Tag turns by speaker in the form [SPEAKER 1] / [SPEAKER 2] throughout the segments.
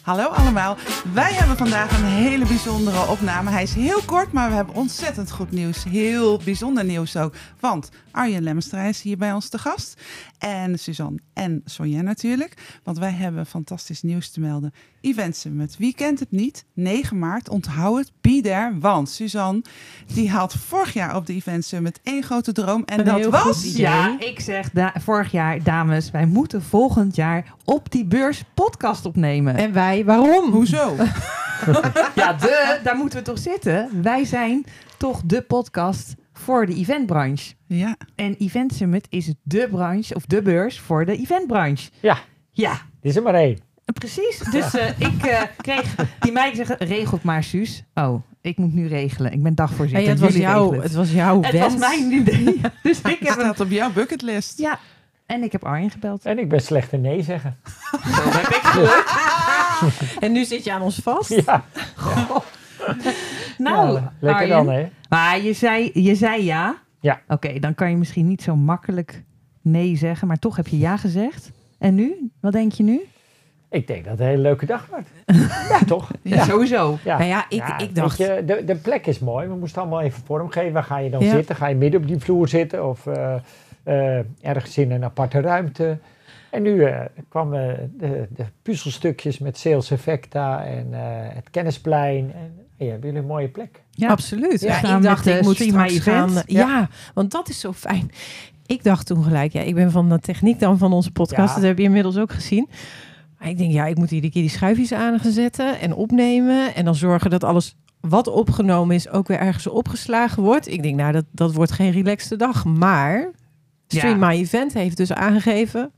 [SPEAKER 1] Hallo allemaal. Wij hebben vandaag een hele bijzondere opname. Hij is heel kort, maar we hebben ontzettend goed nieuws. Heel bijzonder nieuws ook. Want Arjen Lemmenstra is hier bij ons te gast. En Suzanne en Sonja natuurlijk. Want wij hebben fantastisch nieuws te melden. Event Summit. Wie kent het niet? 9 maart. Onthoud het. Be there. Want Suzanne, die had vorig jaar op de Event Summit één grote droom. En
[SPEAKER 2] Een
[SPEAKER 1] dat
[SPEAKER 2] heel
[SPEAKER 1] was...
[SPEAKER 2] goed idee.
[SPEAKER 3] Ja, ik zeg da- vorig jaar, dames, wij moeten volgend jaar op die beurs podcast opnemen.
[SPEAKER 2] En wij, waarom?
[SPEAKER 1] Hoezo?
[SPEAKER 3] ja, de, daar moeten we toch zitten? Wij zijn toch de podcast voor de eventbranche.
[SPEAKER 1] Ja.
[SPEAKER 3] En Event Summit is de branche, of de beurs voor de eventbranche.
[SPEAKER 4] Ja.
[SPEAKER 3] Ja,
[SPEAKER 4] Dit is er maar één.
[SPEAKER 3] precies. Dus eh, ik eh, kreeg die meid zeggen, regel het maar, Suus. Oh, ik moet nu regelen. Ik ben dagvoorzitter.
[SPEAKER 2] Hey, het, was
[SPEAKER 3] Jullie
[SPEAKER 2] jou,
[SPEAKER 3] regelen
[SPEAKER 2] het was jouw
[SPEAKER 3] Het
[SPEAKER 2] wens.
[SPEAKER 3] was mijn idee. Dus ik heb hem.
[SPEAKER 1] Staat op jouw bucketlist.
[SPEAKER 3] Ja, en ik heb Arjen gebeld.
[SPEAKER 4] En ik ben slecht in nee zeggen.
[SPEAKER 2] En nu zit je aan ons vast.
[SPEAKER 4] Ja,
[SPEAKER 3] Nou,
[SPEAKER 4] Ja, lekker
[SPEAKER 3] Arjen,
[SPEAKER 4] dan hè.
[SPEAKER 3] Maar je zei, je zei ja.
[SPEAKER 4] Ja.
[SPEAKER 3] Oké, dan kan je misschien niet zo makkelijk nee zeggen, maar toch heb je ja gezegd. En nu? Wat denk je nu?
[SPEAKER 4] Ik denk dat het een hele leuke dag wordt. ja, toch?
[SPEAKER 1] Ja.
[SPEAKER 3] Sowieso.
[SPEAKER 4] Ja.
[SPEAKER 2] Nou ja, ik,
[SPEAKER 4] Ja,
[SPEAKER 2] ik dacht...
[SPEAKER 4] weet je, de, de plek is mooi. We moesten allemaal even vormgeven. Waar ga je dan
[SPEAKER 2] Ja.
[SPEAKER 4] zitten? Ga je midden op die vloer zitten? Of eh, eh, ergens in een aparte ruimte? En nu eh, kwamen de, de puzzelstukjes met Sales Effecta en eh, het kennisplein. En hey, hebben jullie een mooie plek.
[SPEAKER 3] Ja.
[SPEAKER 2] Absoluut.
[SPEAKER 3] Ja,
[SPEAKER 2] Ja,
[SPEAKER 3] samen
[SPEAKER 2] ik dacht,
[SPEAKER 3] met, eh,
[SPEAKER 2] ik moet
[SPEAKER 3] Stream
[SPEAKER 2] straks
[SPEAKER 3] My Event.
[SPEAKER 2] gaan... Ja. want dat is zo fijn. Ik dacht toen gelijk, ja, ik ben van de techniek dan van onze podcast.
[SPEAKER 4] Ja.
[SPEAKER 2] Dat heb je inmiddels ook gezien. Maar ik denk, ja, ik moet iedere keer die schuifjes aan gaan zetten en opnemen. En dan zorgen dat alles wat opgenomen is ook weer ergens opgeslagen wordt. Ik denk, nou, dat, dat wordt geen relaxte dag. Maar Stream My Event heeft dus aangegeven...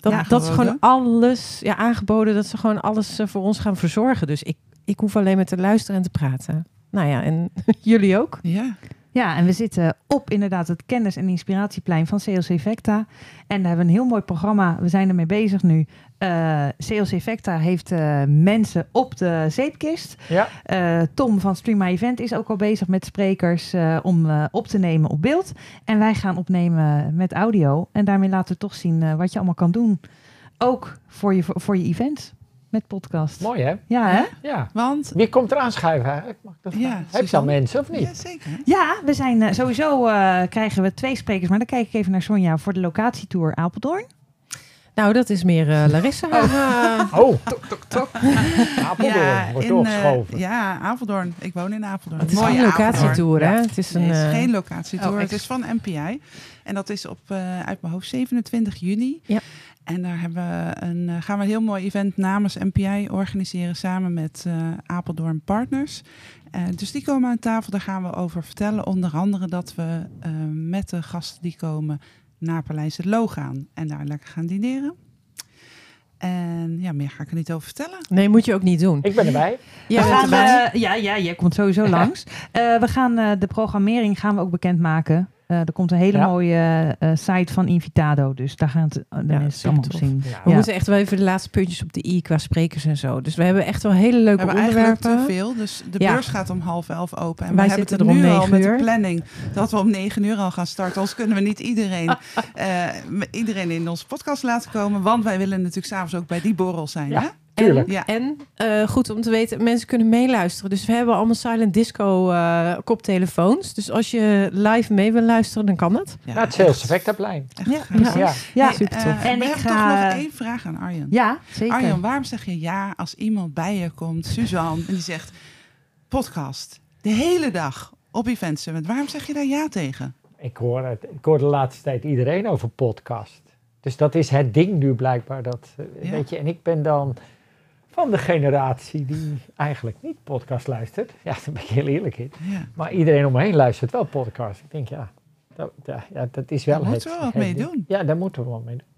[SPEAKER 2] Dat,
[SPEAKER 1] Ja,
[SPEAKER 2] dat ze gewoon
[SPEAKER 1] aangeboden.
[SPEAKER 2] alles ja, aangeboden, dat ze gewoon alles eh, voor ons gaan verzorgen. Dus ik, ik hoef alleen maar te luisteren en te praten. Nou ja, en jullie ook.
[SPEAKER 1] Ja.
[SPEAKER 3] Ja, en we zitten op inderdaad het kennis- en inspiratieplein van CLC Vecta. En daar hebben we een heel mooi programma. We zijn ermee bezig nu. Eh CLC Vecta heeft eh, mensen op de zeepkist.
[SPEAKER 4] Ja.
[SPEAKER 3] Eh, Tom van Stream My Event is ook al bezig met sprekers eh, om eh, op te nemen op beeld. En wij gaan opnemen met audio. En daarmee laten we toch zien eh, wat je allemaal kan doen. Ook voor je, voor je event met podcast.
[SPEAKER 4] Mooi hè?
[SPEAKER 3] Ja, hè?
[SPEAKER 4] Ja.
[SPEAKER 1] Want...
[SPEAKER 4] Wie komt er aanschuiven eigenlijk? Mag ik dat
[SPEAKER 1] Ja,
[SPEAKER 4] vragen? Heb je al
[SPEAKER 1] Suzanne?
[SPEAKER 4] mensen of niet?
[SPEAKER 1] Ja, zeker.
[SPEAKER 3] Ja, we zijn eh, sowieso eh, krijgen we twee sprekers. Maar dan kijk ik even naar Sonja voor de locatietour Apeldoorn.
[SPEAKER 2] Nou, dat is meer eh, Larissa. Eh,
[SPEAKER 4] Oh. Tok, tok, tok. Apeldoorn wordt
[SPEAKER 1] in, eh,
[SPEAKER 4] doorgeschoven.
[SPEAKER 1] ja, Apeldoorn. Ik woon in Apeldoorn.
[SPEAKER 2] het is
[SPEAKER 1] Mooie
[SPEAKER 2] geen locatietour, hè?
[SPEAKER 4] Ja.
[SPEAKER 2] Het is
[SPEAKER 1] Apeldoorn. Nee,
[SPEAKER 2] een...
[SPEAKER 1] het
[SPEAKER 2] eh,
[SPEAKER 1] is geen locatietour.
[SPEAKER 2] oh,
[SPEAKER 1] het
[SPEAKER 2] ex-
[SPEAKER 1] is van NPI. En dat is op, eh, uit mijn hoofd 27 juni.
[SPEAKER 2] Ja.
[SPEAKER 1] En daar hebben we een, eh, gaan we een heel mooi event namens NPI organiseren samen met eh, Apeldoorn Partners. Eh, dus die komen aan tafel, daar gaan we over vertellen. Onder andere dat we eh, met de gasten die komen naar Paleis het Loo gaan en daar lekker gaan dineren. En ja, meer ga ik er niet over vertellen.
[SPEAKER 2] Nee, moet je ook niet doen.
[SPEAKER 4] Ik ben erbij.
[SPEAKER 2] Jij
[SPEAKER 3] we
[SPEAKER 2] bent
[SPEAKER 3] gaan,
[SPEAKER 2] erbij.
[SPEAKER 3] eh, ja, ja, jij komt sowieso langs. Eh, we gaan eh, de programmering gaan we ook bekendmaken. Eh er komt een hele
[SPEAKER 4] Ja.
[SPEAKER 3] mooie eh, site van Invitado. Dus daar gaan het, eh, de
[SPEAKER 2] Ja,
[SPEAKER 3] mensen
[SPEAKER 2] super
[SPEAKER 3] allemaal op
[SPEAKER 2] tof.
[SPEAKER 3] zien.
[SPEAKER 4] Ja.
[SPEAKER 2] we
[SPEAKER 3] Ja.
[SPEAKER 2] moeten echt wel even de laatste puntjes op de i qua sprekers en zo. Dus we hebben echt wel hele leuke
[SPEAKER 1] We hebben eigenlijk
[SPEAKER 2] onderwerpen.
[SPEAKER 1] te veel. Dus de
[SPEAKER 2] Ja.
[SPEAKER 1] beurs gaat om half elf open. En
[SPEAKER 2] Wij
[SPEAKER 1] wij hebben
[SPEAKER 2] zitten
[SPEAKER 1] het
[SPEAKER 2] er om
[SPEAKER 1] nu al
[SPEAKER 2] negen
[SPEAKER 1] met de
[SPEAKER 2] uur.
[SPEAKER 1] planning dat we om negen uur al gaan starten. Anders kunnen we niet iedereen, eh, m- iedereen in onze podcast laten komen. Want wij willen natuurlijk s'avonds ook bij die borrel zijn.
[SPEAKER 4] Ja.
[SPEAKER 1] Hè?
[SPEAKER 4] Tuurlijk.
[SPEAKER 1] Ja.
[SPEAKER 2] En eh, goed om te weten, mensen kunnen meeluisteren. Dus we hebben allemaal silent disco eh, koptelefoons. Dus als je live mee wil luisteren, dan kan dat.
[SPEAKER 1] Ja,
[SPEAKER 4] Naar het Sales Effectaplein.
[SPEAKER 1] echt
[SPEAKER 3] Ja.
[SPEAKER 1] gaaf.
[SPEAKER 4] Ja.
[SPEAKER 3] Ja,
[SPEAKER 1] Hey,
[SPEAKER 2] super
[SPEAKER 1] eh,
[SPEAKER 2] tof.
[SPEAKER 3] En
[SPEAKER 1] we
[SPEAKER 3] ik
[SPEAKER 1] hebben
[SPEAKER 3] ga-
[SPEAKER 1] toch nog één vraag aan Arjen.
[SPEAKER 3] Ja, zeker.
[SPEAKER 1] Arjen, waarom zeg je ja als iemand bij je komt, Suzanne, en die zegt podcast de hele dag op Event Summit. Waarom zeg je daar ja tegen?
[SPEAKER 4] Ik hoor, het, ik hoor de laatste tijd iedereen over podcast. Dus dat is het ding nu blijkbaar. Dat, eh,
[SPEAKER 1] Ja.
[SPEAKER 4] weet je, en ik ben dan van de generatie die eigenlijk niet podcast luistert. Ja, daar ben ik heel eerlijk in.
[SPEAKER 1] Ja. Nou,
[SPEAKER 4] Maar iedereen om me heen luistert wel podcast. Ik denk, ja, dat, ja, ja, dat is wel
[SPEAKER 1] Daar
[SPEAKER 4] het.
[SPEAKER 1] moeten we wat
[SPEAKER 4] het
[SPEAKER 1] mee
[SPEAKER 4] ding.
[SPEAKER 1] doen.
[SPEAKER 4] Ja, daar moeten we wat mee doen.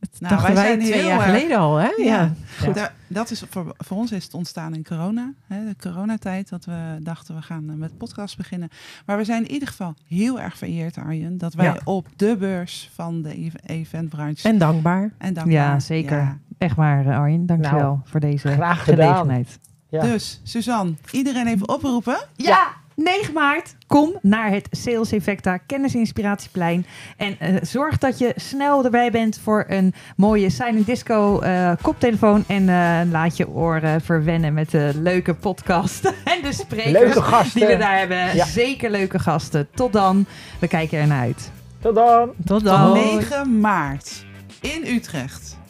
[SPEAKER 2] Dat
[SPEAKER 1] Nou,
[SPEAKER 2] dachten
[SPEAKER 1] wij
[SPEAKER 2] wij,
[SPEAKER 1] zijn
[SPEAKER 2] twee
[SPEAKER 1] heel
[SPEAKER 2] jaar
[SPEAKER 1] erg-
[SPEAKER 2] geleden al, hè?
[SPEAKER 1] Ja.
[SPEAKER 2] Ja.
[SPEAKER 4] Ja.
[SPEAKER 1] Da- dat is voor, voor ons is het ontstaan in corona, hè, de coronatijd, dat we dachten we gaan eh, met podcast beginnen. Maar we zijn in ieder geval heel erg vereerd, Arjen, dat wij
[SPEAKER 3] Ja.
[SPEAKER 1] op de beurs van de ev- eventbranche
[SPEAKER 2] En dankbaar.
[SPEAKER 1] en dankbaar.
[SPEAKER 3] Ja, zeker. Echt waar, eh, Arjen. Dankjewel
[SPEAKER 4] Nou,
[SPEAKER 3] voor deze
[SPEAKER 4] graag gedaan.
[SPEAKER 3] gelegenheid.
[SPEAKER 4] Ja.
[SPEAKER 1] Dus Suzanne, iedereen even oproepen.
[SPEAKER 3] Ja! 9 maart, kom naar het Sales Effecta Kennis en Inspiratieplein. En eh, zorg dat je snel erbij bent voor een mooie Silent Disco eh, koptelefoor. En eh, laat je oren verwennen met de leuke podcast en de sprekers
[SPEAKER 4] Leuke
[SPEAKER 3] die we
[SPEAKER 4] gasten.
[SPEAKER 3] daar hebben.
[SPEAKER 4] Ja.
[SPEAKER 3] Zeker leuke gasten. Tot dan. We kijken ernaar uit.
[SPEAKER 4] Tot dan.
[SPEAKER 3] Tot
[SPEAKER 1] Tot
[SPEAKER 3] dan.
[SPEAKER 1] 9 maart in Utrecht.